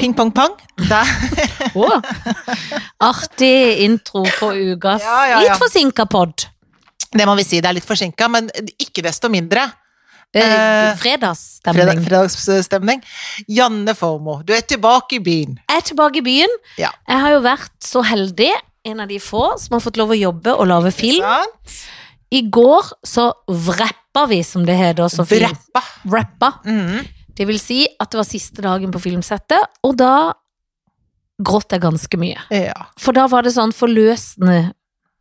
Ping pong pang. Der. Å. Artig intro på ukas Ja, ja, ja. litt forsinka pod. Det må vi si, det er litt forsinka, men ikke desto mindre. Eh, Eh, fredagsstemning. Fredag, fredagsstemning. Janne Formoe, du er tilbake i byen. Jeg er tilbake i byen. Ja. Jeg har jo vært så heldig, en av de få, som har fått lov å jobbe og lage film. Sant? I går så vreppa vi, som det heter så fint. Vreppa. Vreppa. Mhm. Det vil si at det var siste dagen på filmsettet, og da gråt jeg ganske mye. Ja. For da var det sånn forløsende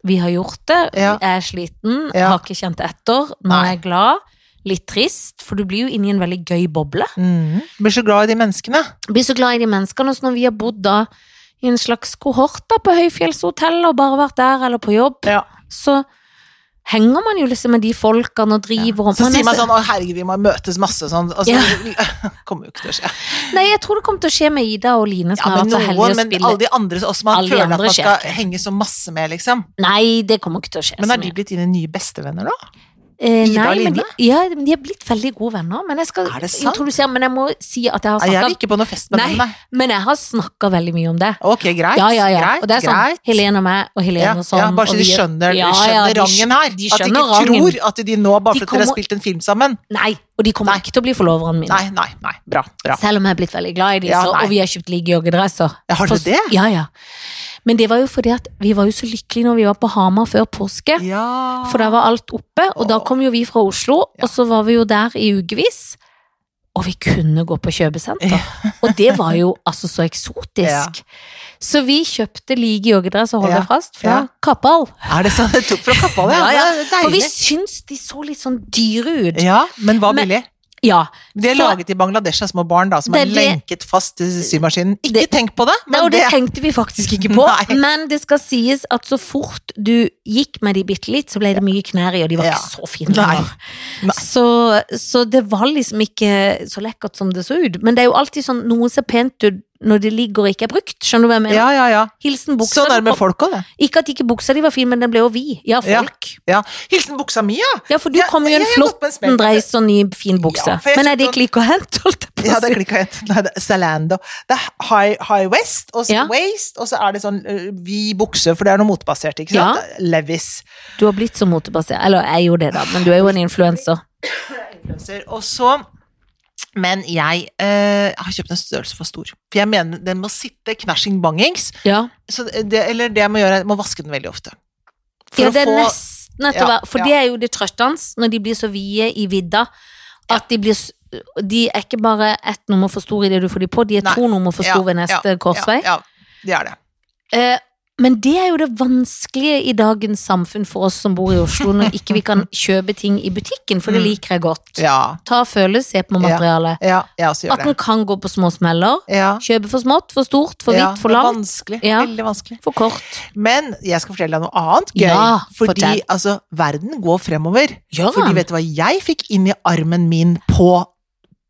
vi har gjort det. Ja. Jeg er sliten, Ja. har ikke kjent etter. Nå er Nei. jeg glad. Litt trist, for du blir jo inni en veldig gøy boble. Mm. Mhm. Blir så glad i de menneskene. blir så glad i de menneskene, og så når vi har bodd da i en slags kohort da på høyfjellshotell og bare vært der eller på jobb, Ja. så henger man jo liksom med de folkene og driver og Så man er sier man så- sånn 'Å, herregud, vi må møtes masse', sånn, og så kommer jo ikke til å skje. Nei, jeg tror det kommer til å skje med Ida og Line sånn, som Ja, men har vært så heldige noen, å men spille. alle de andre også, man Alle de føler at andre man skal skjer ikke. henge så masse med, liksom. Nei, det kommer ikke til å skje. Men så er de mye. blitt dine nye bestevenner, da? Eh, Ida og nei, men de, Line? ja, men de er blitt veldig gode venner. Men jeg skal Er det sant? introdusere, men jeg må si at jeg har Nei, Jeg vil snakket ikke på noe fest med Nei. dem, nei. Men jeg har snakka veldig mye om det. Ok, greit. Ja, ja, ja. greit, og det er sånn greit. Helene og meg og Helene ja, og sånn. ja, bare så og de vi- skjønner, Ja, ja, skjønner de skj- rangen her. de at de ikke skjønner rangen. tror at de nå, bare De fordi dere har kommer- spilt en film sammen Nei, og de kommer Nei. ikke til å bli forloveren min. Nei, nei, nei. Bra. bra. Selv om jeg er blitt veldig glad i dem, Ja, så- nei. og vi har kjøpt like joggedresser. Ja, har du For- det? Ja, ja. Men det var jo fordi at vi var jo så lykkelige når vi var på Hamar før påske. Ja. For da var alt oppe, og da Åh. kom jo vi fra Oslo, Ja. og så var vi jo der i ukevis. Og vi kunne gå på kjøpesenter. Ja. Og det var jo altså så eksotisk. Ja. Så vi kjøpte like joggedress og holder Ja, fast fra ja. Kappal. Er det sånn? Det tok fra kappa, det. Ja, ja. Det er For vi deilig. syns de så litt sånn dyre ut. Ja, men var Men- billig. Ja. De er Så- laget i Bangladesh av små barn da, som Det er er det- lenket fast til symaskinen. Ikke Det- tenk på det, Nei, men og det det tenkte vi faktisk ikke på. Nei. Men det skal sies at så fort du gikk med de bitte litt, så ble det mye knær i, og de var Ja. ikke så fine. Nei. lenger. Nei. Så, så det var liksom ikke så lekkert som det så ut. Men det er jo alltid sånn noe ser pent ut når det ligger og ikke er brukt. Skjønner du hva jeg mener? Ja, ja, ja. Hilsen Sånn buksa. er det med og- folk òg, det. Ikke at ikke buksa di var fin, men den ble jo vid. Ja, Ja. folk. Ja. Hilsen buksa mi, ja! Ja, for du Ja, kom jo i jeg en har gått flott på en smell. dreis og ny, fin bukse. Ja, for jeg men er kjøpte det en- ikke like å hente, holdt jeg på Ja, å det si? klikka helt. Nei, det er Zalando. Det er high, high west og så Ja. waist, og så er det sånn ø, vid bukse, for det er noe motebasert, ikke Ja. sant? Levis. Du har blitt så motebasert. Eller jeg er jo det, da, men du er jo en influenser. Influencer. Og så Men jeg ø, har kjøpt en størrelse for stor. For jeg mener den må sitte knashing bangings. Ja. Så det, eller det jeg må gjøre, jeg må vaske den veldig ofte. For ja, å det er få- nesten etter Ja, hver For ja. det er jo det trøttende når de blir så vide i vidda at de blir s- De er ikke bare ett nummer for store i det du får de på, de er Nei. to nummer for Ja, store ved neste ja, korsvei. Ja, ja, det er det. Eh, men det er jo det vanskelige i dagens samfunn for oss som bor i Oslo, når ikke vi kan kjøpe ting i butikken, for det Mm. liker jeg godt. Ja, Ta og føle, se på materialet. ja jeg også At gjør den det. kan gå på små smeller. Ja. Kjøpe for smått, for stort, for Ja, hvitt, for det er langt, Vanskelig. Ja. Veldig vanskelig. for kort. Men jeg skal fortelle deg noe annet gøy. Ja, fordi fortell. Sånn. altså, verden går fremover. Gjør Fordi han? vet du hva jeg fikk inn i armen min på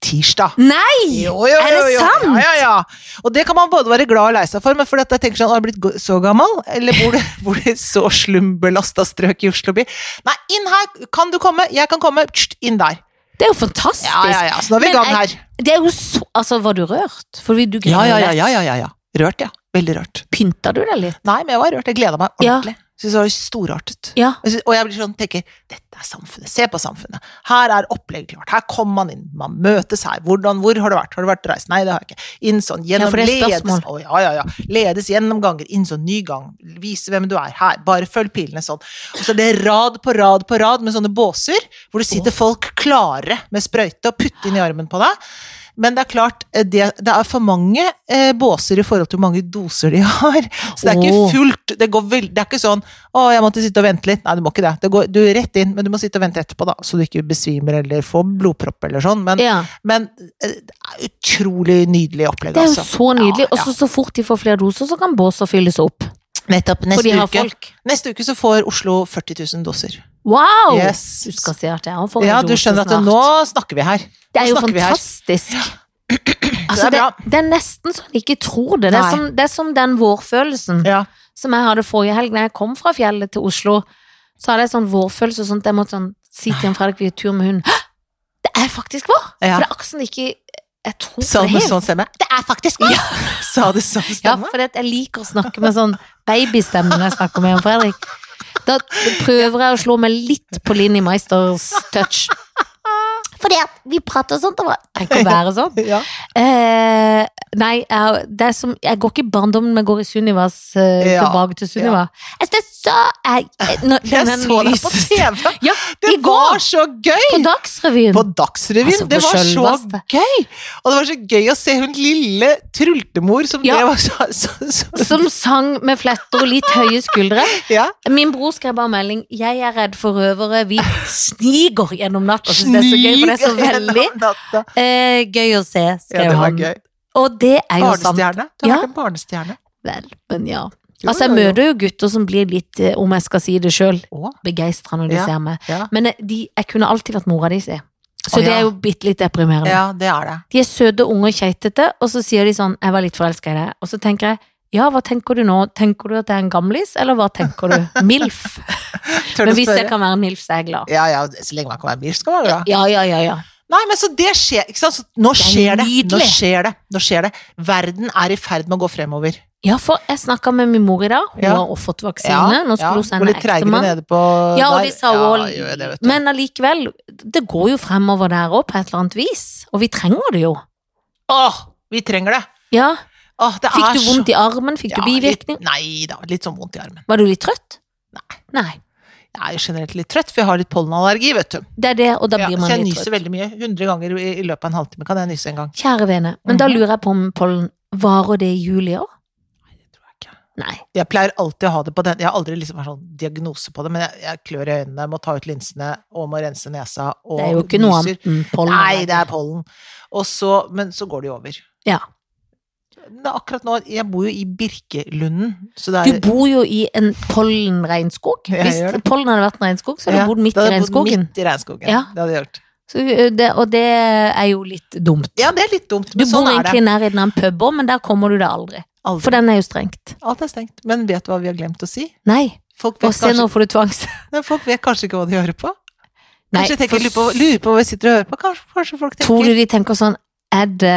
tirsdag? Nei! Jo, jo, Er det jo, jo. sant? Ja, ja, ja. Og det kan man både være glad og lei seg for, men fordi at jeg tenker sånn, har jeg blitt go- så gammel? Eller bor du, bor du i så slumbelasta strøk i Oslo by? Nei, inn her! Kan du komme? Jeg kan komme. Pst, inn der. Det er jo fantastisk. Ja, ja, ja. Så nå er vi i Men gang jeg- her. Det er jo så Altså, var du rørt? For vi- du Ja, greide ja, jo ja, det. ja, ja, ja, ja. Rørt, ja. Veldig rørt. Pynta du deg litt? Nei, men jeg var rørt. Jeg gleda meg Ja. ordentlig. Synes det var storartet. Ja. Og så- Og jeg blir sånn, tenker, dette er samfunnet, se på samfunnet. Her er opplegget klart, her kommer man inn, man møtes her. Hvordan, hvor har du vært? Har du vært reist? Nei, det har jeg ikke. Inn sånn, Ja, gjennom for det er ledes, spørsmål. Å, ja, ja, ja. ledes gjennomganger, inn sånn ny gang, vise hvem du er her, bare følg pilene sånn. Og så er det rad på rad på rad med sånne båser, hvor det sitter folk klare med sprøyte og putte inn i armen på deg. Men det er klart, eh, det, det er for mange eh, båser i forhold til hvor mange doser de har. Så det er ikke Åh. fullt. Det, går vel, det er ikke sånn 'Å, jeg måtte sitte og vente litt'. Nei, du må ikke det. det går, du er rett inn, men du må sitte og vente etterpå, da, så du ikke besvimer eller får blodpropp eller sånn. Men, Ja. men eh, det er utrolig nydelig opplegg, Det er jo altså. så nydelig. Ja, Og så så fort de får flere doser, så kan båser fylles opp. Nettopp. For de Neste har uke, folk. neste uke så får Oslo 40 000 doser. Wow! Yes. Du skal se at jeg har fått Ja, en du dose skjønner at det, snart. nå snakker vi her. Det er Nå jo snakker vi her. fantastisk. Altså, det, bra. det er nesten så jeg ikke tror det. Det er, Nei. som, det er som den vårfølelsen Ja. som jeg hadde forrige helg Når jeg kom fra fjellet til Oslo. Så hadde jeg sånn vårfølelse sånn at jeg måtte sånn, si til en Fredrik vi er tur med hunden. «Hå! Det er faktisk vår! Ja. For det er akkurat som det ikke Jeg tror Sa det det med er sånn stemme. Det er faktisk meg! Sa det sånn Ja, stemme? for det at jeg liker å snakke med sånn babystemme når jeg snakker med Jan Fredrik. Da prøver jeg å slå meg litt på Linni Meisters touch. Fordi at vi prater sånn til hverandre. Jeg kan være sånn. Ja. Eh, nei, jeg, det er som, jeg går ikke i barndommen, men går i Sunnivas eh, Ja, tilbake til Sunniva. Jeg synes det er så jeg, jeg, når- Jeg den så det på lyses- TV! Ja, Det i var går! så gøy! På Dagsrevyen. På Dagsrevyen. Altså, på det var sjølveste. så gøy! Og det var så gøy å se hun lille trultemor som Ja. drev og så, så, så Som sang med fletter og litt høye skuldre. Ja. Min bror skrev bare melding 'Jeg er redd for røvere, vi sniker gjennom natta'. Synes det er så gøy, for det er så Snig gjennom veldig natta. eh, gøy å se, Ja, skrev det var han. gøy. Og det er jo sant. Barnestjerne. Du har Ja. vært en barnestjerne. Vel, men ja. Jo, Altså, jo, jeg jo. møter jo gutter som blir litt, eh, om jeg skal si det sjøl, Å, begeistra når de Ja. ser meg. ja. Men eh, de, jeg kunne alltid vært mora deres, jeg. Så Å, det ja. er jo bitte litt deprimerende. ja, det er det. De er søte, unge og keitete, og så sier de sånn 'jeg var litt forelska i deg', og så tenker jeg ja, hva tenker du nå? Tenker du at jeg er en gamlis, eller hva tenker du? Milf. Tør du Men å hvis jeg spørre? kan være en milf, så er jeg glad. Ja, ja, så lenge man kan være biff, skal man være glad. Ja, ja, ja, ja. Nei, men så det skjer, ikke sant? Så nå er skjer det. Nå nydelig. skjer det. Nå skjer det. Verden er i ferd med å gå fremover. Ja, for jeg snakka med min mor i dag. Hun Ja. har også fått vaksine. Nå skulle hun Gå sende litt treigere ektemann. nede på Ja, og der. de sa Ja, også- gjør det, vet du. Men allikevel, det går jo fremover der òg, på et eller annet vis. Og vi trenger det jo. Åh, vi trenger det. Ja. Åh, det Fikk er du så- vondt i armen? Fikk du Ja, bivirkning? Litt, nei da, litt sånn vondt i armen. Var du litt trøtt? Nei. Nei. Jeg er jo generelt litt trøtt, for jeg har litt pollenallergi, vet du. Det er det, og da Ja, blir så man jeg litt nyser trøtt. veldig mye. 100 ganger i, i løpet av en halvtime kan jeg nyse en gang. Kjære vene, men da Mhm. lurer jeg på om pollen varer det i juli òg? Tror jeg ikke. Nei. Jeg pleier alltid å ha det på den. Jeg har aldri liksom vært sånn diagnose på det, men jeg, jeg klør i øynene, må ta ut linsene og må rense nesa og Det er jo ikke noe nyser. annet enn pollen. Nei, det er pollen. Og så, men så går det jo over. Ja. Men akkurat nå, jeg bor jo i Birkelunden, så det er Du bor jo i en pollenregnskog. Jeg Hvis gjør det. pollen hadde vært en regnskog, så hadde Ja, du bodd midt da i hadde jeg bodd regnskogen. Midt i regnskogen. Ja. Det hadde jeg gjort. Så, ø, det, og det er jo litt dumt. Ja, det er litt dumt, Du men sånn bor er det. egentlig nær i den puben, men der kommer du deg aldri. Aldri. For den er jo strengt. Alt er stengt. Men vet du hva vi har glemt å si? Nei. Folk Og vet, se, kanskje, nå får du tvangs. Nei, folk vet kanskje ikke hva de hører på. Nei, Kanskje de tenker, for lurer, på, lurer på hva vi sitter og hører på. Kanskje, kanskje folk Tror du tenker de tenker sånn Er det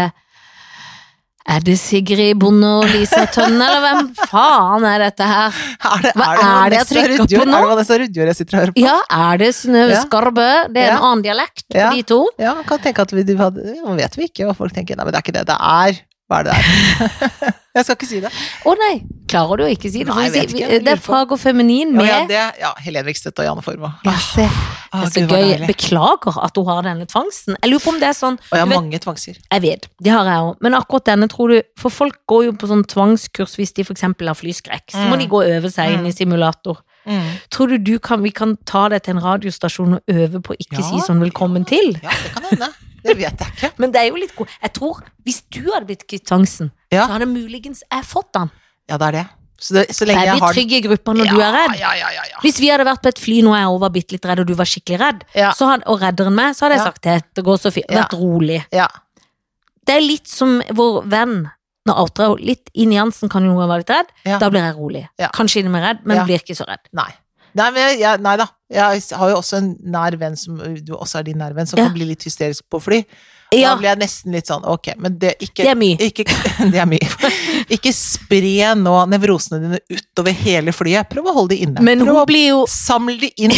er det Sigrid Bonde og Lisa Tønne, eller hvem faen er dette her? Er det, Hva er det jeg Vanessa trykker på Rudjord? nå? Er det Vanessa Rudjord jeg sitter og hører på? Ja, er det Synnøve Ja. Skarbø? Det er en Ja. annen dialekt på Ja. de to. Ja, man kan tenke at vi, de hadde, nå vet vi ikke hva folk tenker. Nei, men det er ikke det. Det er Hva er det der? jeg skal ikke si det. Å nei, klarer du å ikke si det? Nei, For jeg vi vet sier- ikke. Jeg Det lurer er på. fag og feminin Ja, med ja, det, ja Helene Vikstvedt og Janne Formoe. Ja, se. Ah, Det er så Gud, hva gøy. deilig. Beklager at hun har denne tvangsten. Jeg lurer på om det er sånn Og jeg har Du vet- mange tvangser. Jeg vet, det har jeg òg, men akkurat denne tror du For folk går jo på sånn tvangskurs hvis de for eksempel har flyskrekk. Så må Mm. de gå og øve seg inn i simulator. Tror du, du kan, vi kan ta det til en radiostasjon og øve på å ikke Ja. si sånn 'velkommen til'? Ja, det kan hende. Det vet jeg ikke. Men det er jo litt god Jeg tror, hvis du hadde blitt kvitt tvangsen, Ja. så hadde muligens jeg fått den. Ja, det er det. Så, det, så For lenge jeg jeg blir har den trygg i gruppa når du er redd. Ja, ja, ja, ja. Hvis vi hadde vært på et fly nå jeg var bitte litt redd, og du var skikkelig redd, Ja. så hadde, og redderen meg, så hadde jeg Ja. sagt det. Det går så fint. Ja. Vært rolig. ja. Det er litt som vår venn når outra litt i nyansen kan jo være litt redd. Ja. Da blir jeg rolig. Ja. Kanskje inni meg redd, men Ja. blir ikke så redd. Nei. Nei, men jeg, jeg, nei da. Jeg har jo også en nær venn som du også er din nære venn, som Ja. kan bli litt hysterisk på fly. Ja, Da blir jeg nesten litt sånn ok, men det det ikke er mye. ikke, det er mye. Ikke spre nå nevrosene dine utover hele flyet. Prøv å holde de inne. Men hun Prøv å blir jo Samle de inn.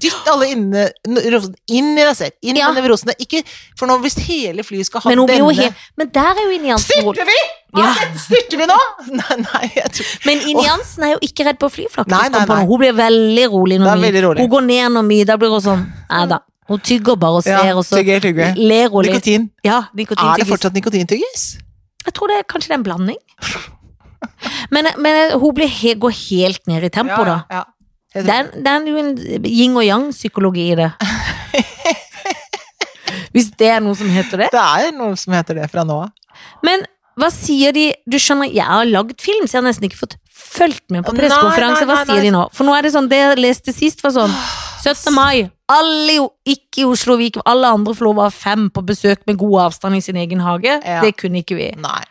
Dytt alle inne, nevrosene inn i deg selv. Inn Ja. i nevrosene. Ikke, for nå hvis hele flyet skal ha Men hun blir jo denne helt Men der er jo inni Jansen rolig. Styrter vi?! Hva Ja. skjedde? Styrter vi nå?! Nei, nei, jeg tror Men inni Jansen er jo ikke redd på flyflaks. Nei, nei, nei. Hun blir veldig rolig Det når er mye. veldig rolig. Hun går ned når mye. Da blir hun sånn Nei da. Hun tygger bare og ser, og så tygger, tygger. ler hun litt. Nikotin. Ja, Er det nikotintyggis. fortsatt nikotintyggis? Jeg tror det er kanskje det er en blanding. Men, men hun blir he, går helt ned i tempo, da. Ja, ja. Det er, det er jo en yin og yang-psykologi i det. Hvis det er noe som heter det. Det er noe som heter det fra nå av. Men hva sier de Du skjønner, jeg har lagd film, så jeg har nesten ikke fått fulgt med på Nei, pressekonferanse. Hva nei, nei, sier de nå? For nå er det sånn, det jeg leste sist, var sånn 17. mai. Alle jo, ikke i Oslo og Viken, alle andre får lov å ha fem på besøk med god avstand i sin egen hage. Ja. Det kunne ikke vi. Nei.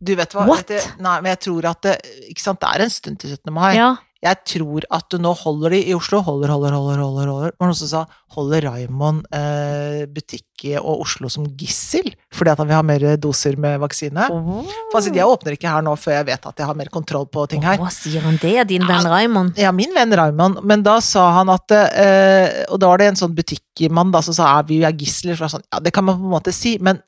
Du vet hva What? vet du- Nei, men jeg tror at det, ikke sant, det er en stund til 17. mai. Ja. Jeg tror at nå holder de i Oslo. Holder, holder, holder. holder, holder. Det var noen som sa holder Raymond eh, butikket og Oslo som gissel fordi at han vil ha mer doser med vaksine? Oh. For han sier, jeg åpner ikke her nå før jeg vet at jeg har mer kontroll på ting her. Hva sier han det, din venn Raymond? Ja, min venn Raymond, men da sa han at eh, Og da var det en sånn butikkmann da, som sa er vi er gisler. Så var jeg sånn, ja, det kan man på en måte si, men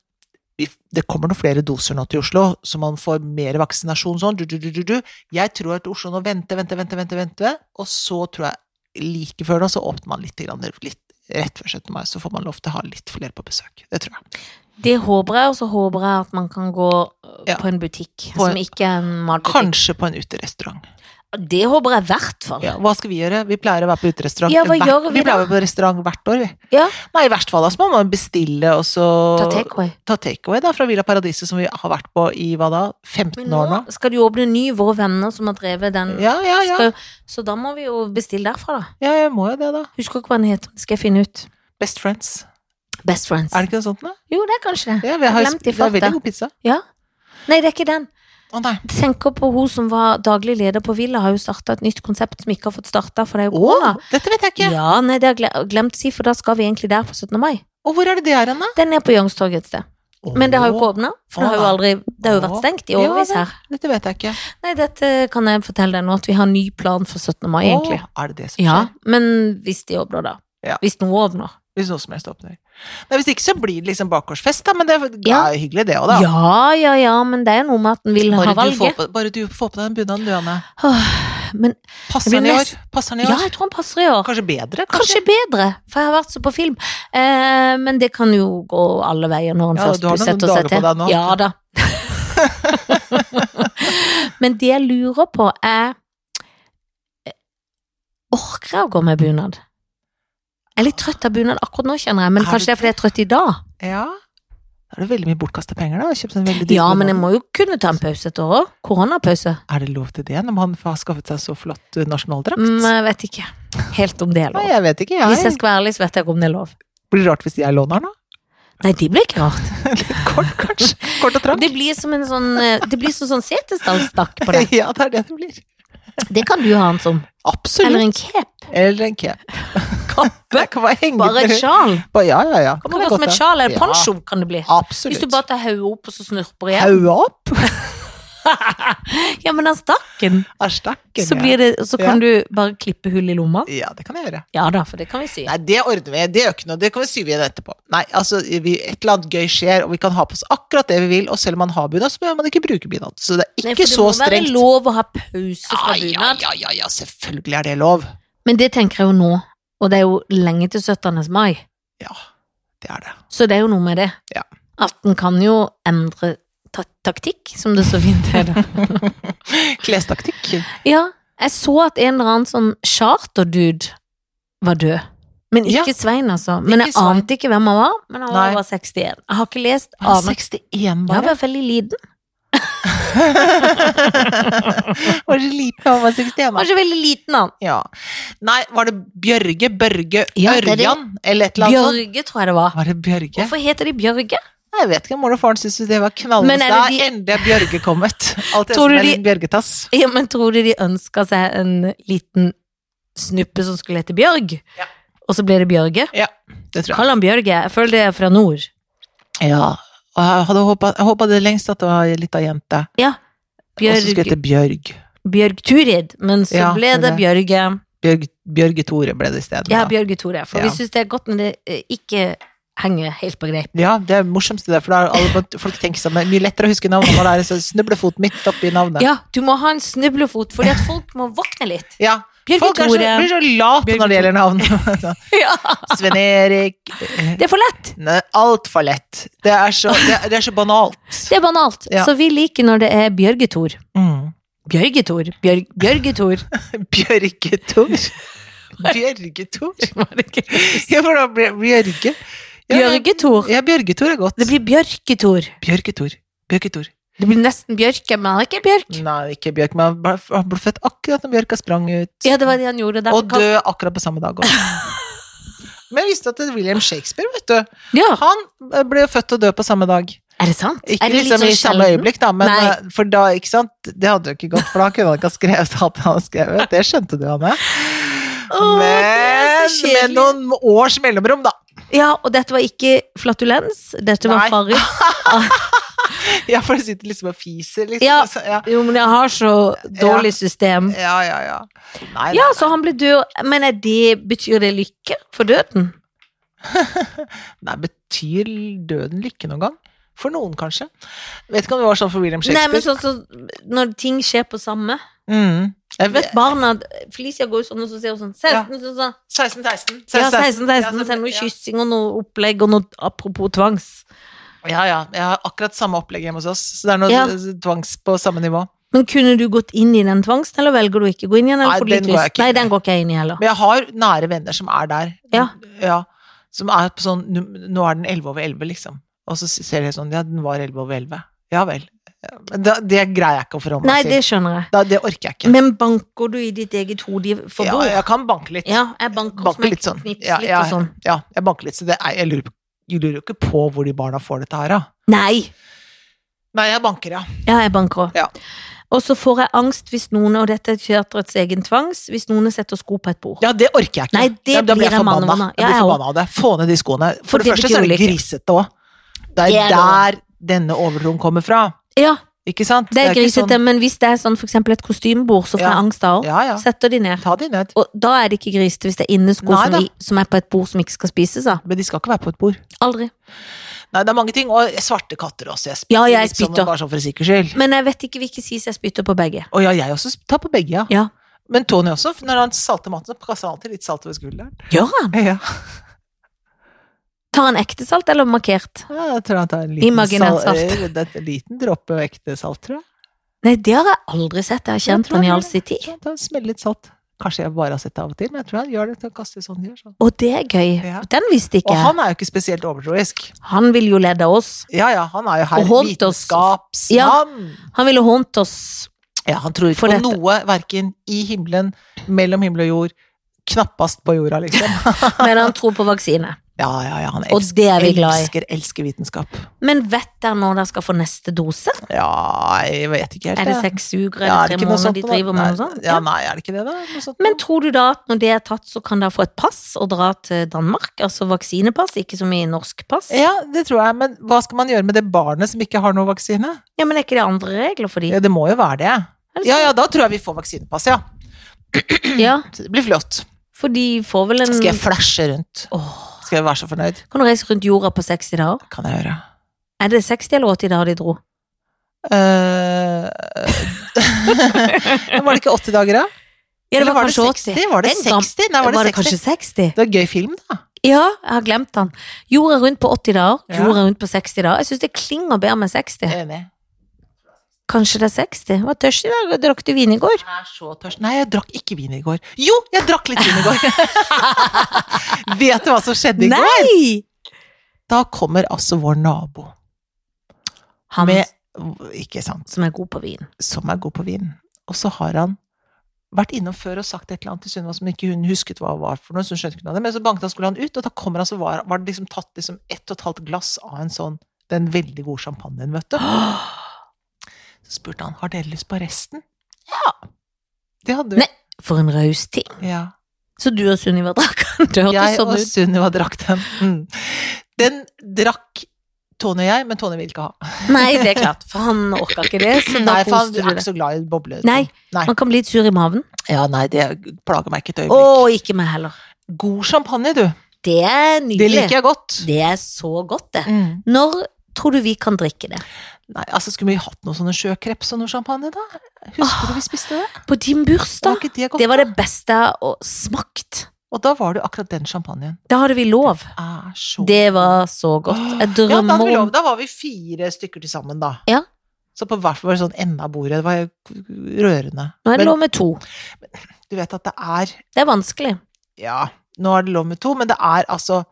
vi, det kommer noen flere doser nå til Oslo, så man får mer vaksinasjon sånn. Du, du, du, du, du. Jeg tror at Oslo nå venter, venter, venter, venter, venter, og så tror jeg like før nå så åpner man litt, grann, litt rett før 17. mai, så får man lov til å ha litt flere på besøk. Det tror jeg. Det håper jeg, og så håper jeg at man kan gå øh, Ja. på en butikk På en- som ikke er en matbutikk. Kanskje på en uterestaurant. Det håper jeg i hvert fall. Ja, hva skal vi gjøre? Vi pleier å være på uterestaurant. Ja, hva hvert- gjør vi vi da? pleier å være på restaurant hvert år, vi. Ja. Nei, i verste fall da, så må man bestille og så Ta takeaway. ta takeaway da, fra Villa Paradiset, som vi har vært på i hva da, 15 Men nå år nå? skal du åpne en ny Våre venner som har drevet den. Ja, ja, ja. Skal, så da må vi jo bestille derfra, da. Ja, jeg må jo det, da. Husker ikke hva den heter. Det skal jeg finne ut. Best Friends. Best Friends. Er det ikke noe sånt, da? Jo, det er kanskje det. Ja, vi har, Glemt i det er veldig farta. god pizza. Ja. Nei, det er ikke den. Å nei. Jeg tenker på hun som var daglig leder på Villa, har jo starta et nytt konsept som ikke har fått starta, for det er Å, jo korona. dette vet jeg ikke. Ja, nei, det har jeg gle- glemt å si, for da skal vi egentlig der på 17. mai. Og hvor er det det er hen, da? Den er på Youngstorget et sted. Men det har jo ikke åpna, for det har jo Å. aldri Det har jo Å. vært stengt i Ja, årevis vel. her. Dette vet jeg ikke. Nei, dette kan jeg fortelle deg nå, at vi har ny plan for 17. mai, egentlig. Å, er det det som skjer? Ja, men hvis de åpner, da. Ja. Hvis noe åpner. Hvis noe som helst åpner. Nei, hvis ikke så blir det liksom bakgårdsfest, da. Men det er Ja. er jo hyggelig, det òg, da. Ja, ja, ja, men det er noe med at en vil ha Bare du, får valget. på, bare du får på deg den bunaden, du, Anne. Åh, Men Passer Jeg den blir i år? nest- Passer den i ja, år? jeg tror han passer i år. Kanskje bedre? Kanskje bedre, for jeg har vært så på film. Eh, men det kan jo gå alle veier når en Ja, først du har noen setter dager seg på til. deg nå. Ja da. men det jeg lurer på, er eh, Orker jeg å gå med bunad? Jeg er litt trøtt av bunad akkurat nå, kjenner jeg, men Er du kanskje det er fordi jeg er trøtt i dag. Ja. Da er det veldig mye bortkasta penger, da. Kjøpt en veldig dyr Ja, men bunad. jeg må jo kunne ta en pause et år òg. Koronapause. Er det lov til det når man har skaffet seg så flott eh, nasjonaldrakt? Mm, jeg vet ikke helt om det er Nei, lov. jeg vet ikke, Hvis jeg. jeg skal være ærlig, så vet jeg ikke om det er lov. Blir det rart hvis jeg låner den, da? Nei, det blir ikke rart. Litt kort, kanskje? Kort og trangt? Det blir som en sånn eh, Det blir som sånn setesdalsstakk på det. Ja, det er det det blir. Det kan du ha den som. Eller Absolutt. en cape. Eller en cape. Kappe. Det kan være hengende Bare et sjal. Bare- Ja, ja, ja. Kan man gå som et sjal eller Ja. en poncho, kan det bli. Hvis du Absolutt. bare tar hodet opp og så snurper igjen. Hauet opp? Ja, men den stakken, Er stakken, så, blir det, så kan du bare klippe hull i lomma. ja. ja, det kan jeg gjøre. Ja da, for det kan vi si. Nei, det ordner vi. Det gjør ikke noe. Det kan vi syve igjen etterpå. Nei, altså, vi, et eller annet gøy skjer, og vi kan ha på oss akkurat det vi vil, og selv om man har bunad, så bør man ikke bruke bunad. Så det er Nei, ikke for så Det må være strengt. lov å ha pause fra ja, bunad. ja, ja, ja, selvfølgelig er det lov. Men det tenker jeg jo nå, og det er jo lenge til 17. mai, Ja, det er det. så det er jo noe med det. Ja. At en kan jo endre ta taktikk, som det så fint heter. Klestaktikk. Ja, jeg så at en eller annen sånn charterdude var død. Men Ja. ikke Svein, altså. Men Ikke jeg Svein. ante ikke hvem han var. Men han Nei. var 61. Jeg har ikke lest Han er aner. 61 Jeg bare. var veldig liten. var så liten han var 61. Jeg var ikke veldig liten, han. Ja. Nei, var det Bjørge, Børge, Ja, det er det. Ørjan, eller et eller annet sånt? Bjørge, tror jeg det var. Var det Bjørge? Hvorfor heter de Bjørge? Nei, Jeg vet ikke, mor og faren syntes jo det var knallende. Men er det Da er de- endelig er Bjørge kommet. Alt det Tror som du er de- litt Bjørgetass. Ja, men tror du de ønska seg en liten snuppe som skulle hete Bjørg? Ja. Og så ble det Bjørge? Det tror jeg. Kall han Bjørge. Jeg føler det er fra nord. Ja. Og jeg hadde håpa, jeg håpa det lengst at det var ei lita jente. Og så skulle jeg Bjørg, hete Bjørg. Bjørg Turid. Men så Ja, ble det det er det. Bjørge. Bjørg. Bjørge Tore ble det isteden. Ja, da. Bjørge Tore. For Ja. vi syns det er godt når det eh, ikke henger helt på greip. Ja, det er morsomst det der, for da er alle, folk tenker sånn, det er mye lettere å huske navnet når det er så snublefoten midt oppi navnet. Ja, du må ha en snublefot, fordi at folk må våkne litt. Ja, Bjørge folk er så, Tore. blir så late når det gjelder navn. Ja, Sven-Erik. det er for lett. Altfor lett. Det er så, det, er- det er så banalt. Det er banalt. Ja. Så vi liker når det er Bjørge Tor. Mm. Bjørge Tor. Bjørg, Bjørge Tor. Bjørgetor. Bjørgetor? Ja, for da blir Bjørge. Ja, Bjørge Tor. Ja, Bjørgetor er godt. Det blir Bjørketor. Bjørgetor. Bjørgetor. Det blir nesten Bjørke, men han er ikke Bjørk. Nei, ikke Bjørk, men han ble, han ble født akkurat når Bjørka sprang ut. Ja, det var det han gjorde. Derfor og død akkurat på samme dag også. Men jeg visste at det er William Shakespeare, vet du. kall- Ja, Han eh, ble jo født og død på samme dag. Er det sant? Ikke er det sånn liksom i samme sjelden? øyeblikk, da, men Nei. eh, for da, ikke sant? Det hadde jo ikke gått, for da kunne han ikke ha skrevet alt han hadde skrevet. Det skjønte du, Hanne. Åh, det er Men med så kjedelig. noen års mellomrom, da. Ja, og dette var ikke flatulens, dette Nei. var farris. Ja, for du sitter liksom og fiser, liksom. Ja. Så, ja. Jo, men jeg har så dårlig system. ja, ja, ja. Nei, Ja, så han ble død. Men er det, betyr det lykke for døden? nei, betyr døden lykke noen gang? For noen, kanskje. Vet ikke om det var sånn for William Nei, Shakespeare. men sånn som når ting skjer på samme. Mm. Jeg Du vet, vet barna Felicia går jo sånn og så sier hun sånn 16, sånn, sånn. 16, 16. Ja, 16, 16, Ja, så er det noe ja. kyssing og noe opplegg og noe apropos tvangs. Ja, ja. Jeg har akkurat samme opplegg hjemme hos oss, så det er noe Ja. tvangs på samme nivå. Men kunne du gått inn i den tvangsen, eller velger du ikke å gå inn i den? Nei, eller får du den litt går jeg lyst? ikke inn Nei, i. den går ikke jeg inn i heller. Men jeg har nære venner som er der. Ja. Ja, som er på sånn nu- Nå er den 11 over 11, liksom. Og så ser jeg sånn Ja, den var 11 over 11. Ja vel. Men da- det greier jeg ikke å forholde meg Nei, til. det skjønner jeg. Da, det orker jeg ikke. Men banker du i ditt eget hode i- for ja, bord? Ja, jeg kan banke litt. jeg banker, Banke som jeg litt sånn. knips Ja, litt ja. og sånn. Ja, jeg banker litt, så det er, jeg lurer på- jeg lurer jo ikke på hvor de barna får dette her, da. Nei! Nei, jeg banker, ja. Ja, jeg banker òg. Ja. Og så får jeg angst hvis noen, og dette er teatrets egen tvangs, hvis noen setter sko på et bord. Ja, det orker jeg ikke. Nei, det da, da blir jeg forbanna. mannemanna. Jeg Ja, blir jeg forbanna av det. Få ned de skoene. For, For det, det første betyr så er det ulykke. grisete òg. Det er Det er det der denne overtroen kommer fra. Ja, Ikke sant? det er ikke grisete, men hvis det er sånn for eksempel et kostymebord, så får Ja. jeg angst da Sånn, òg. ja, ja. Setter de ned. Ta de ned. Og da er det ikke grisete hvis det er innesko Nei som, da. vi, som er på et bord som ikke skal spises av. Men de skal ikke være på et bord. Aldri. Nei, det er mange ting. Og svarte katter også. Jeg spytter, Ja, jeg litt sånn, spytter. bare sånn for sikkerhets skyld. Men jeg vet ikke hvilke sies jeg spytter på begge. Og ja, jeg også tar på begge, ja. Ja. Men Tony også. for Når han salter maten, så kaster han alltid litt salt over skulderen. Gjør han? Ja, Tar han ekte salt eller markert? ja jeg tror han tar en liten, Imaginært sal- salt. eh, det er en liten dråpe ekte salt, tror jeg. Nei, det har jeg aldri sett. Jeg har Jeg kjent tror han i han all gjør sin Jeg tid. tror han tar- smeller litt salt. Kanskje jeg bare har sett det av og til, men jeg tror han gjør det til å kaste sånn. Gjør sånn. Og det er gøy. Ja. Den visste ikke Og jeg. han er jo ikke spesielt overtroisk. Han vil jo lede oss. Ja, ja, han er jo her Og holdt oss- vitenskapsmann. Han ville hånt oss. Ja, han tror ikke For på dette- noe, verken i himmelen, mellom himmel og jord, knappast på jorda, liksom. Men han tror på vaksine, Ja, ja, ja, han og elsker, det er vi glad i. elsker, elsker vitenskap. Men vet dere når dere skal få neste dose? Ja, jeg vet ikke helt. Er det jeg. seks Ja, uker er eller det ikke tre noe måneder sånt de nå, da? driver med? og sånt? Nei, Ja, nei, er det ikke det, da? Noe sånt Men nå? tror du da at når det er tatt, så kan dere få et pass og dra til Danmark? Altså vaksinepass, ikke som i norsk pass? ja, det tror jeg, men hva skal man gjøre med det barnet som ikke har noe vaksine? Ja, men er ikke det andre regler for de? Ja, det må jo være det. Er det Ja, ja, da tror jeg vi får vaksinepass, ja. Ja, Det blir flott. for de får vel en Skal jeg flashe rundt? Åh, Skal jeg være så fornøyd? Kan du reise rundt jorda på 60 dager? Kan jeg gjøre. Er det 60 eller 80 dager de dro? Eh, var det ikke 80 dager, da? Ja, Eller var det 60? Var det En gam- 60? Nei, var det 60? kanskje 60? Det var en gøy film, da. Ja, jeg har glemt den. Jorda rundt på 80 dager, Ja. jorda rundt på 60 dager. Jeg syns det klinger bedre med 60. Enig. Kanskje det er 60? Hva tørst i dag? Drakk du vin i går? Jeg er så tørst. Nei, jeg drakk ikke vin i går. Jo, jeg drakk litt vin i går. Vet du hva som skjedde i går? Nei! Da kommer altså vår nabo Han med Ikke sant. som er god på vin. Som er god på vin. Og så har han vært innom før og sagt et eller annet til Sunniva som ikke hun husket hva var for noe. Så hun skjønte ikke noe av det, men så banket han skulle han ut, og da kommer han så var, var det liksom tatt liksom ett og et halvt glass av en sånn den veldig gode champagnen, vet du. Så spurte han har dere lyst på resten. Ja. Det hadde vi. Nei. For en raus ting. Ja. Så du og Sunniva drakk den? Det hørtes Jeg sånn og ut. Sunniva drakk den. Mm. Den drakk Tone og jeg, men Tone vil ikke ha. Nei, det er klart. For han orka ikke det, så da Nei, for han koste er du ikke det. så glad i boble. Nei. Nei. Man kan bli litt sur i maven. Ja, nei, det plager meg ikke et Å, øyeblikk. ikke meg heller. God champagne, du. Det er Det nydelig. liker jeg godt. Det er så godt, det. Mm. Når tror du vi kan drikke det? Nei, altså Skulle vi hatt noen sånne sjøkreps og noe champagne, da? Husker du vi spiste det? På din Var bursdag? ikke det godt? Det var det beste og smakt. Og da var det jo akkurat den champagnen. Da hadde vi lov. Er så Det var så godt. Jeg Ja, da, hadde drømmer vi lov. om da var vi fire stykker til sammen, da. Ja. Så på hvert fall var det sånn enda av bordet. Det var jo rørende. Nå er det Men lov med to. du vet at det er Det er vanskelig. Ja, nå er det lov med to, men det er altså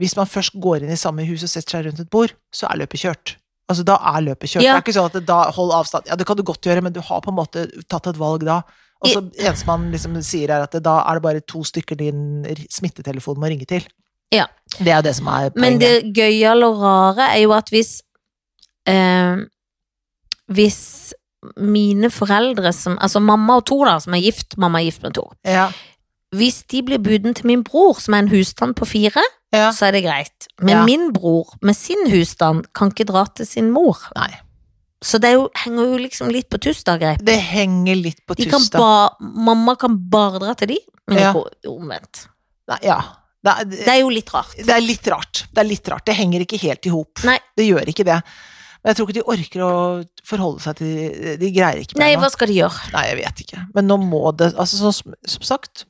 Hvis man først går inn i samme hus og setter seg rundt et bord, så er løpet kjørt. Altså, da er løpet kjørt. Ja. Det er ikke sånn at det, da hold avstand. Ja, det kan du godt gjøre, men du har på en måte tatt et valg da. Og så eneste man liksom sier er at det, da er det bare to stykker din r- smittetelefon må ringe til. Ja. Det er jo det som er Men poenget. det gøye eller rare er jo at hvis eh, Hvis mine foreldre som, Altså mamma og Tor da Som er gift, mamma er gift med Tor Ja. Hvis de blir buden til min bror Som er en husstand på fire Ja. Så er det greit Men Ja. min bror med sin husstand Kan ikke dra til sin mor Nei. Så det er jo, henger jo liksom litt på tuss da greit Det henger litt på de kan tuss, da. ba, Mamma kan bare dra til de Men Ja. ikke omvendt Nei, ja. Det, er- Det er jo litt rart det er litt rart. Det er litt rart. Det henger ikke helt i hop. Nei. Det gjør ikke det. Men jeg tror ikke de orker å forholde seg til De greier ikke mer Nei, nå. hva skal de gjøre? Nei, jeg vet ikke. Men nå må det altså, så, som- Som sagt,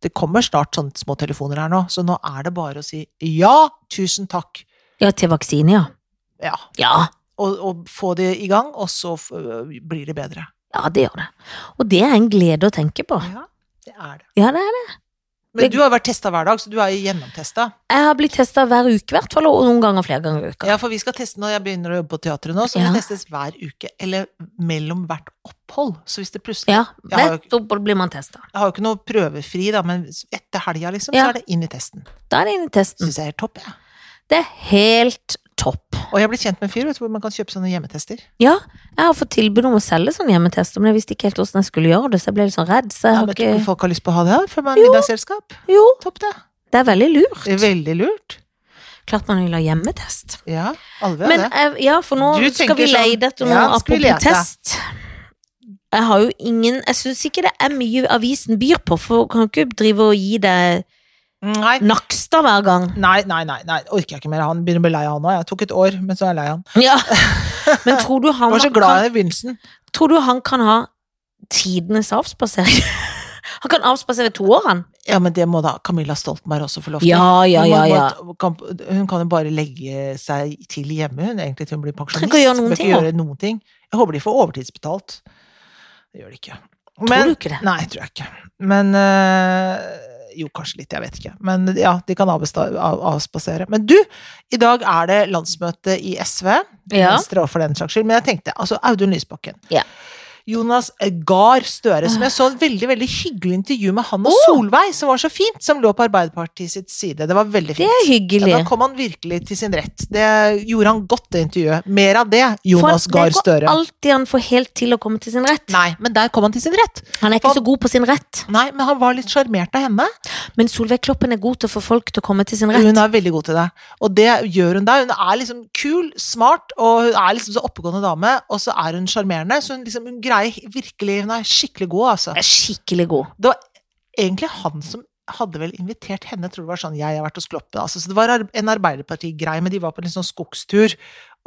det kommer snart sånne små telefoner her nå, så nå er det bare å si ja, tusen takk. Ja, til vaksine, ja Ja. Ja, Og, og få det i gang, og så øh, blir det bedre. Ja, det gjør det. Og det er en glede å tenke på. Ja, det er det. Ja, det er det. Men du har vært testa hver dag, så du er jo gjennomtesta. Jeg har blitt testa hver uke, i hvert fall, og noen ganger flere ganger i uka. Ja, for vi skal teste når jeg begynner å jobbe på teatret nå, så må Ja. det testes hver uke. Eller mellom hvert opphold. Så hvis det plutselig Ja, Jeg har jo rett opp og blir man testa. Jeg har jo ikke noe prøvefri, da, men etter helga, liksom, Ja. Mm. så er det inn i testen. Da er det inne i testen. Syns jeg er helt topp, jeg. Det er helt topp. Og jeg ble kjent med en fyr vet du, hvor man kan kjøpe sånne hjemmetester. Ja, jeg har fått tilbud om å selge sånn hjemmetester, men jeg visste ikke helt hvordan jeg skulle gjøre det, så jeg ble litt sånn redd. Så jeg Jeg har vet ikke om ikke folk har lyst på å ha det her før man er middagsselskap. Jo, Topp, det. det er veldig lurt. Det er Veldig lurt. Klart man vil ha hjemmetest. Ja, alle vil Men ha det. eh, ja, for nå Du skal vi tenker sånn, leide etter noe ja, skal vi apropos lete. test. Jeg har jo ingen Jeg syns ikke det er mye avisen byr på, for kan ikke drive og gi deg Nei. Nakstad hver gang. Nei, nei, nei, nei, orker jeg ikke mer. Han begynner å bli lei av han òg. Jeg tok et år, men så er jeg lei av han. Ja. Men tror du han, Jeg var så glad i begynnelsen. Kan, tror du han kan ha tidenes avspasering? Han kan avspasere to år, han. Ja, men det må da Camilla Stoltenberg også få lov til. Hun må- må- Kan, hun kan jo bare legge seg til hjemme, hun, egentlig, til hun blir pensjonist. ikke gjøre noen Bør ting, gjøre noen ting. Jeg håper de får overtidsbetalt. Det gjør de ikke. Men, tror du ikke det? Nei, tror jeg ikke. Men øh, Jo, kanskje litt, jeg vet ikke. Men ja, de kan avbesta- av- avspasere. Men du, i dag er det landsmøte i SV. Ja. Venstre også, for den saks skyld. Men jeg tenkte, altså Audun Lysbakken. Ja. Jonas Gahr Støre, som jeg så et veldig veldig hyggelig intervju med han og Åh! Solveig, som var så fint, som lå på Arbeiderpartiet sitt side. Det var veldig Det er fint. Ja, hyggelig. da kom han virkelig til sin rett. Det gjorde han godt, det intervjuet. Mer av det, For Jonas Gahr Det går Støre. alltid han får helt til å komme til sin rett. Nei, men der kom han til sin rett. Han er ikke For- så god på sin rett, Nei, men han var litt sjarmert av henne. men Solveig Kloppen er god til å få folk til å komme til sin rett. Hun er veldig god til det. Og det gjør hun der. Hun er liksom kul, smart, og hun er liksom så oppegående dame, og så er hun sjarmerende. Så hun liksom, hun greier virkelig Hun er skikkelig god, altså. Er skikkelig god. Det var egentlig han som hadde vel invitert henne, tror det var sånn jeg har vært hos Kloppe. Altså. Så det var ar- en Arbeiderparti-greie, men de var på en litt sånn skogstur.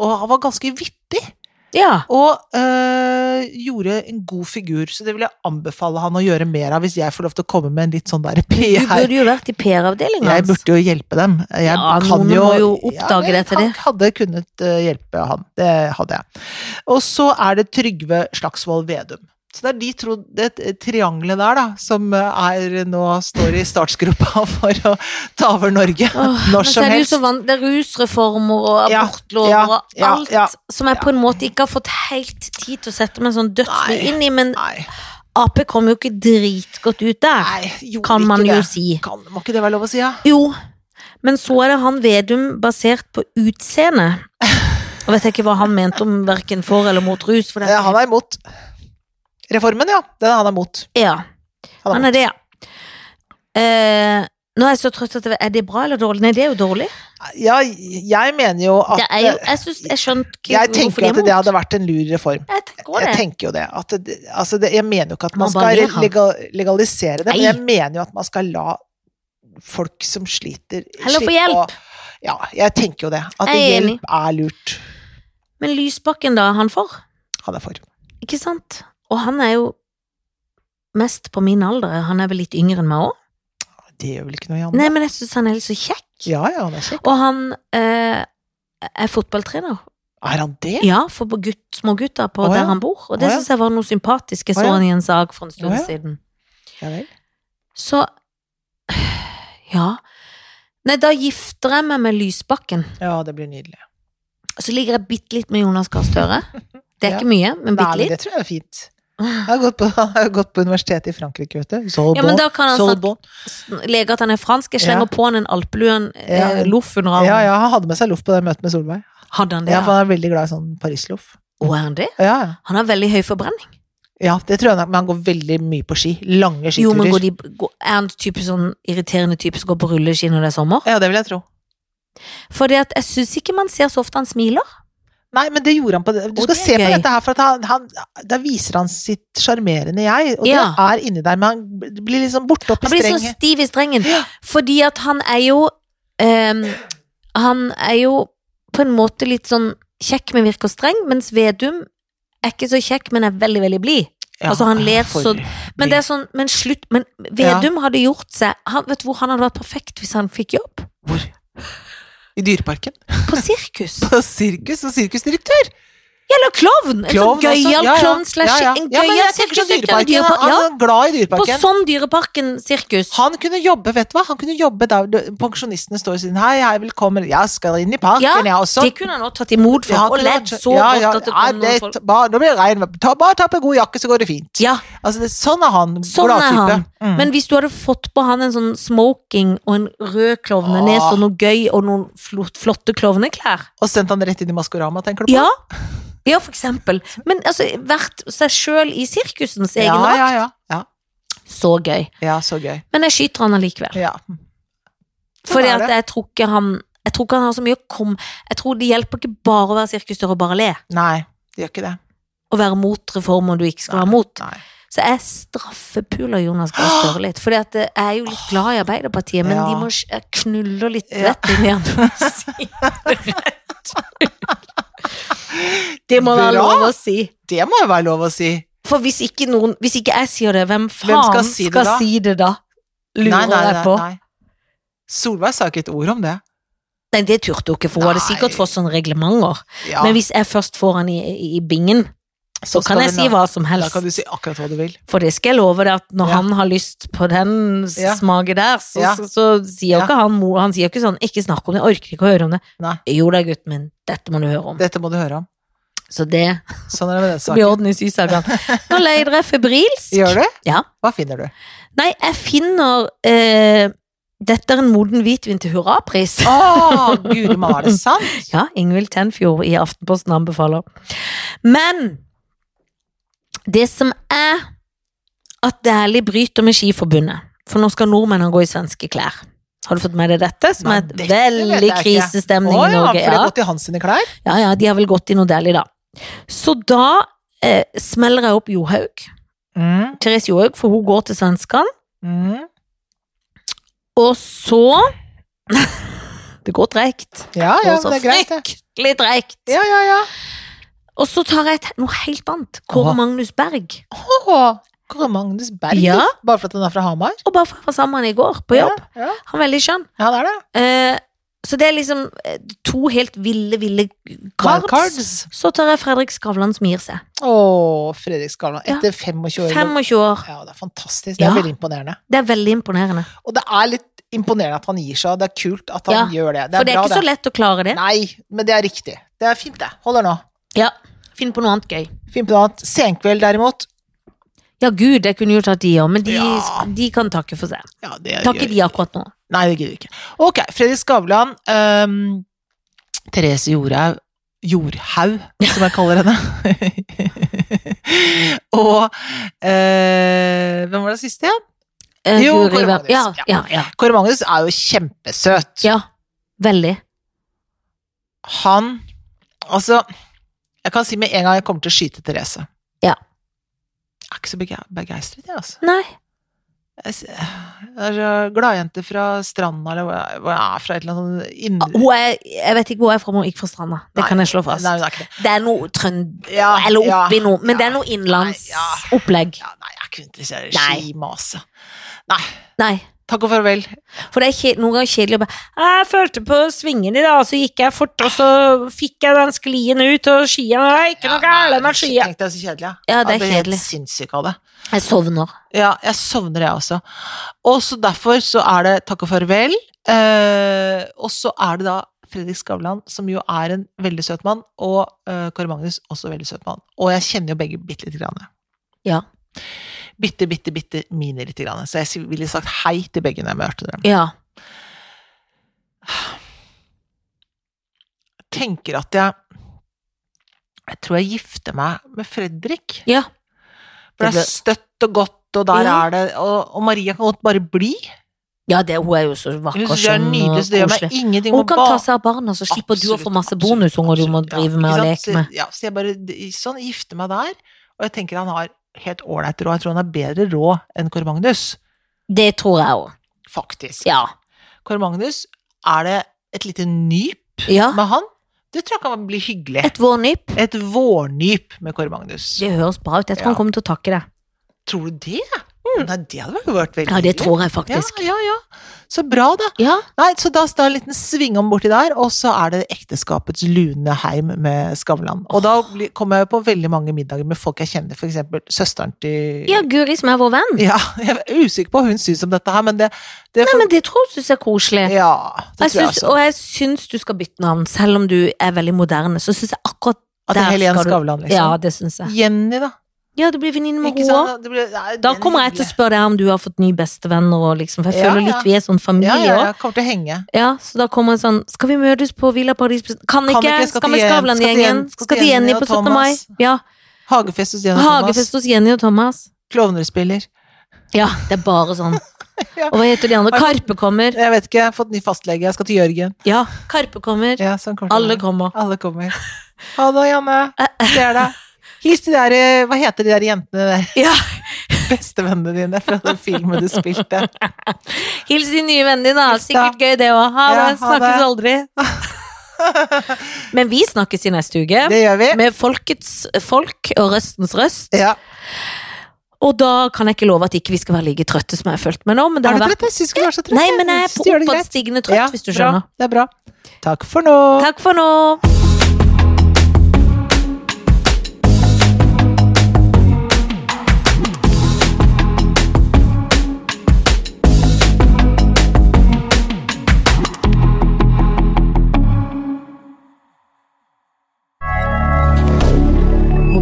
Og han var ganske vittig, Ja. og øh, gjorde en god figur. Så det vil jeg anbefale han å gjøre mer av, hvis jeg får lov til å komme med en litt sånn der Du PR. burde jo vært i PR-avdelinga Jeg hans. burde jo hjelpe dem. Jeg Ja, kan noen jo, må jo oppdage men det til Jeg hadde kunnet eh, hjelpe han. Det hadde jeg. Og så er det Trygve Slagsvold Vedum. Så det er de tro, det triangelet der da, som eh, er, nå står i startsgropa for å ta over Norge Åh, men når så som er det, jo helst. så van- det er rusreformer og Ja, abortlover ja, og ja, alt ja. som jeg på en måte ikke har fått helt tid til å sette meg sånn dødslig Nei. inn i, men Nei, Ap kom jo ikke dritgodt ut der, nei, gjorde kan man ikke jo det. si. Kan, må ikke det være lov å si, ja? Jo, men så er det han Vedum basert på utseende. Jeg vet ikke hva han mente om verken for eller mot rus. For det. Eh, Han er imot. Reformen, ja. Den er han imot. Ja, Han er han er det, ja. Eh, nå er jeg så trøtt at jeg, Er det bra eller dårlig? Nei, det er jo dårlig. Ja, jeg mener jo at eh, Det er jo, jeg, synes, jeg skjønte ikke Jeg hvorfor tenker at de er det imot. hadde vært en lur reform. Jeg tenker også Jeg det. tenker jo det. At det altså det, jeg mener jo ikke at man Man bare skal ler han. legal, legalisere det, men Nei. jeg mener jo at man skal la folk som sliter Heller få slippe hjelp. å- ja, jeg tenker jo det. At Jeg er hjelp er lurt. Men Lysbakken, da, er han for? Han er for. Ikke sant? Og han er jo mest på min alder. Han er vel litt yngre enn meg òg. Det gjør vel ikke noe, Janne? Nei, men jeg syns han er litt så kjekk. Ja, ja, han er kjekk. Og han eh, er fotballtrener. Er han det? Ja, for på gutt, små gutter på Å, ja. der han bor. Og det Å, ja. synes syns jeg var noe sympatisk. Jeg Å, så ja. han i en sak for en stund Å, ja. siden. Ja vel. Så Ja. Nei, da gifter jeg meg med Lysbakken. Ja, det blir nydelig. Så ligger jeg bitte litt med Jonas Gahr Støre. Det er Ja. ikke mye, men Nei, bitte men litt. det tror jeg er fint. Jeg har gått på, jeg har gått på universitetet i Frankrike, vet du. Ja, men Sorbonne. da kan han snakke Sorbonne. lege at han er fransk. Jeg slenger på han en alpelue, en eh, Ja. loff under Ja, armen. ja, han hadde med seg loff på det møtet med Solveig. Hadde han det? Ja, Ja, for han er veldig glad i sånn parisloff. Å, er han det? Ja, ja. Han har veldig høy forbrenning. ja, det tror jeg nok, men han går veldig mye på ski. Lange Jo, men går skiturer. de, går, er han type sånn irriterende type som går på rulleski når det er sommer? Ja, det vil jeg tro. For jeg syns ikke man ser så ofte han smiler. Nei, men det gjorde han på det. Du skal Og det er se på gøy. dette her, for at han, han, da viser han sitt sjarmerende jeg, og Ja. det er inni der, men han blir liksom borte opp i Han blir så strengen. stiv i strengen. Ja. Fordi at han er jo ehm, Han er jo på en måte litt sånn kjekk, men virker streng, mens Vedum er ikke så kjekk, men er veldig, veldig blid. Ja, altså, han ler for så- Men det er sånn, men slutt Men Vedum hadde gjort seg han, Vet du hvor han hadde vært perfekt hvis han fikk jobb? Hvor? I Dyreparken? På sirkus. På sirkus? Som sirkusdirektør? Eller klovn! En Klovn sånn også. gøyal Ja, ja. klovn slash Ja, ja. en Ja, men gøyal jeg tenker sånn sirkusdirektør. i Dyreparken, Dyrepark- Han Ja, er glad i på Dyreparken. sånn Dyreparken-sirkus. Han kunne jobbe, vet du hva? Han kunne jobbe der du- pensjonistene står og sier hei, hei, velkommen, jeg skal inn i parken, Ja, jeg også. Det kunne han også tatt imot sånn. Ja, han for, og kunne ledd vært- så ja, godt ja, at det ja, kom noen folk. ta- bare, Nå blir det regn, ta, bare ta på en god jakke, så går det fint. Ja, Altså, det, sånn er han. Sånn er Gladtype. han. Mm. Men hvis du hadde fått på han en sånn smoking og en rød klovnenese Åh. og noe gøy og noen flott, flotte klovneklær Og sendt han rett inn i Maskorama, tenker du på? Ja, ja for eksempel. Men altså, vært seg sjøl i sirkusens egen ja, vakt. ja, ja, ja. Så gøy. Ja, så gøy. Men jeg skyter han allikevel. Ja. Fordi Sånn er at det. jeg tror ikke han jeg tror ikke han har så mye å komme Jeg tror det hjelper ikke bare å være sirkusdør og bare le. Nei, det gjør ikke det. Og være mot reformer du ikke skal være Nei, mot. Nei. Så jeg straffepuler Jonas Gahr Støre litt. For jeg er jo litt glad i Arbeiderpartiet, men Ja. de må jeg knuller litt Ja. rett inn i han. Det må være Bra. lov å si. Det må jo være lov å si. For hvis ikke, noen, hvis ikke jeg sier det, hvem faen skal skal, si si, det det da? da? Lurer nei, nei, jeg på. Nei, Nei, nei. Solveig sa ikke et ord om det. det turte hun ikke, for hun hadde Nei. sikkert fått sånne reglementer. Ja, Men hvis jeg først får han i, i- i bingen, så, så skal kan jeg vi si nå- hva som Da helst. kan du si akkurat hva du vil. For det skal jeg love deg, at når Ja. han har lyst på den s- Ja. smaket der, så, Ja. så, så sier Ja. ikke han mor Han sier ikke sånn 'ikke snakk om det, jeg orker ikke å høre om det'. Nei. Jo da, gutten min, dette må du høre om. Dette må du høre om. Så det Sånn er det med den så blir saken. orden i sysagan. Nå leier jeg febrilsk. Gjør du? Ja. Hva finner du? Nei, jeg finner eh, Dette er en moden hvitvin til hurrapris. Å, guri malla, er det sant? Ja, Ingvild Tenfjord i Aftenposten anbefaler. Men det som er at Dæhlie bryter med Skiforbundet, for nå skal nordmennene gå i svenske klær. Har du fått med deg dette? Som Nei, er et dette vet veldig jeg ikke. Å krisestemning i ja, for Norge. det Ja. har gått i hans sine klær? ja, ja, de har vel gått i noe Dæhlie, da. Så da eh, smeller jeg opp Johaug. Mm, Therese Johaug, for hun går til svenskene. mm, Og så Det går treigt. ja, ja, Det går men så det er greit, det. fryktelig treigt. Ja, ja, ja. Og så tar jeg et, noe helt annet. Kåre Åh. Magnus Berg. Åh, Kåre Magnus Berg, Ja. bare for at han er fra Hamar? Og bare for å være sammen med han i går på jobb. Ja, ja. Han er veldig skjønn. ja det er det. Eh, så det er liksom eh, to helt ville, ville cards. Wildcards. Så tar jeg Fredrik Skavlan som gir seg. Å, Fredrik Skavlan. Ja. Etter 25 år. 25 år. Ja, det er fantastisk. Det er Ja. veldig imponerende. Det er veldig imponerende. Og det er litt imponerende at han gir seg, og det er kult at han gjør det. Det For er det er bra, ikke så lett å klare det. Nei, men det er riktig. Det er fint, det. Holder nå. Ja. Finn på noe annet gøy. Finn på noe annet. Senkveld, derimot. Ja, gud, jeg kunne jo tatt de òg, men de, Ja. de kan takke for seg. Ja, det Takker de akkurat nå. Nei, det gidder vi ikke. Ok, Fredrik Skavlan. ehm, Therese Jorhaug. Jorhaug, som jeg kaller henne. og eh, Hvem var det siste igjen? Eh, Jo, Guri Kåre Ver- Magnus. Ja, Ja. ja, ja. Kåre Magnus er jo kjempesøt. ja. Veldig. Han Altså, jeg kan si med en gang jeg kommer til å skyte Therese. Ja. Jeg er ikke så bege- begeistret, jeg, altså. Nei. Jeg s- jeg er så gladjente fra stranda, eller hvor jeg- hvor jeg er fra, et eller annet sånn indre Hun er, jeg vet ikke hvor jeg er fra, men hun er ikke fra Stranda. Ah, Det Nei. kan jeg slå fast. Nei, hun er ikke det. Det er noe trønd... Ja, eller ja, oppi noe, ja. men det er noe Nei, innlandsopplegg. Ja, nei, jeg er ikke interessert i Nei. skimase. Nei, Takk og farvel. for det er kje- noen ganger kjedelig å bare «Ah, 'Jeg følte på svingen i dag, så gikk jeg fort, og så fikk jeg den sklien ut, og skia Det er ikke noe gærent med skia. Tenk deg så kjedelig, ja. Ja, det Jeg blir er kjedelig. Helt sinnssyk av det. Jeg sovner. Ja, jeg sovner, jeg også. Og så derfor så er det takk og farvel. Eh, og så er det da Fredrik Skavlan, som jo er en veldig søt mann, og eh, Kåre Magnus, også veldig søt mann. Og jeg kjenner jo begge bitte lite grann. Ja. Bitte, bitte, bitte mine lite grann. Så jeg ville sagt hei til begge når jeg møtte dem. Ja. tenker at jeg Jeg tror jeg gifter meg med Fredrik. Ja. For det Det ble- er støtt og godt, og der Ja. er det Og, og Maria kan godt bare bli. Ja, det, hun er jo så Hun vakker synes jeg er skjønn og nydelig, så det gjør meg koselig. ingenting. Hun Må kan ba- ta seg av barna, så slipper du å Absolutt, få masse absolutt, bonusunger du må absolutt, ja, drive med ikke og sant? leke med. Så, ja, så jeg bare d- sånn, gifter meg der, og jeg tenker han har helt ålreit råd. Jeg tror han har bedre råd enn Kåre Magnus, Det tror jeg òg. faktisk. Ja. Kåre Magnus, er det et lite nyp ja. med han? Det tror jeg kan bli hyggelig. Et vårnyp. Et vårnyp med Kåre Magnus. Det høres bra ut. Jeg tror Ja. han kommer til å takke det. Tror du det? Nei, det hadde vel vært veldig Mm. Ja, det hyggelig. tror jeg faktisk. Ja, ja, ja. Så bra, da. Ja. Nei, så da står en liten sving om borti der, og så er det ekteskapets lune heim med Skavlan. Og da blir- kommer jeg på veldig mange middager med folk jeg kjenner, f.eks. søsteren til Ja, Guri som er vår venn. Ja, jeg er usikker på hva hun syns om dette her, men det, det Nei, men det tror jeg synes er koselig. Ja, det Jeg tror jeg syns- også. og jeg syns du skal bytte navn, selv om du er veldig moderne. Så syns jeg akkurat At det er der Helen skal du- Skavlan, Ja, liksom. det syns jeg. Jenny, da. Ja, du blir venninne med Ikke henne òg. sant? Det blir- nei, Da den er kommer jeg til å hyggelig. spørre deg om du har fått nye bestevenner og liksom, for jeg Ja, føler ja. litt vi er sånn familie Ja, òg. ja, Ja, ja. Kommer til å henge. så da kommer jeg sånn Skal vi møtes på Villa Paris? Kan ikke, ikke, skal skal, vi til Jen- Skavlan-gjengen? Skal til Jenny og på 17. mai? Thomas. Ja. Hagefest hos Jenny og Thomas. Hagefest hos Jenny og Thomas. Klovner spiller. Ja, det er bare sånn. Ja. Og hva heter de andre? Karpe kommer. Jeg vet ikke, jeg har fått ny fastlege. Jeg skal til Jørgen. Ja, Karpe kommer. Ja, så han kommer til å Alle være. kommer. Alle kommer. Ha det, Janne. Ser deg. Hils de der eh, Hva heter de der jentene der? Ja. Bestevennene dine fra den filmen du spilte. Hils de nye vennene dine, da. Hils da. Sikkert gøy, det òg. Ha Ja, det. ha Snakkes det. aldri. Men vi snakkes i neste uke. Det gjør vi. Med folkets folk og røstens røst. Ja. Og da kan jeg ikke love at ikke vi skal være like trøtte som jeg har følt meg nå. Men det Er har du vært... trøtt? Jeg syns ikke du er så trøtt. Nei, men jeg er synes på du gjør det greit. oppadstigende trøtt, Ja, hvis du bra. skjønner. Det er bra. Takk for nå. Takk for nå.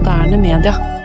Moderne media.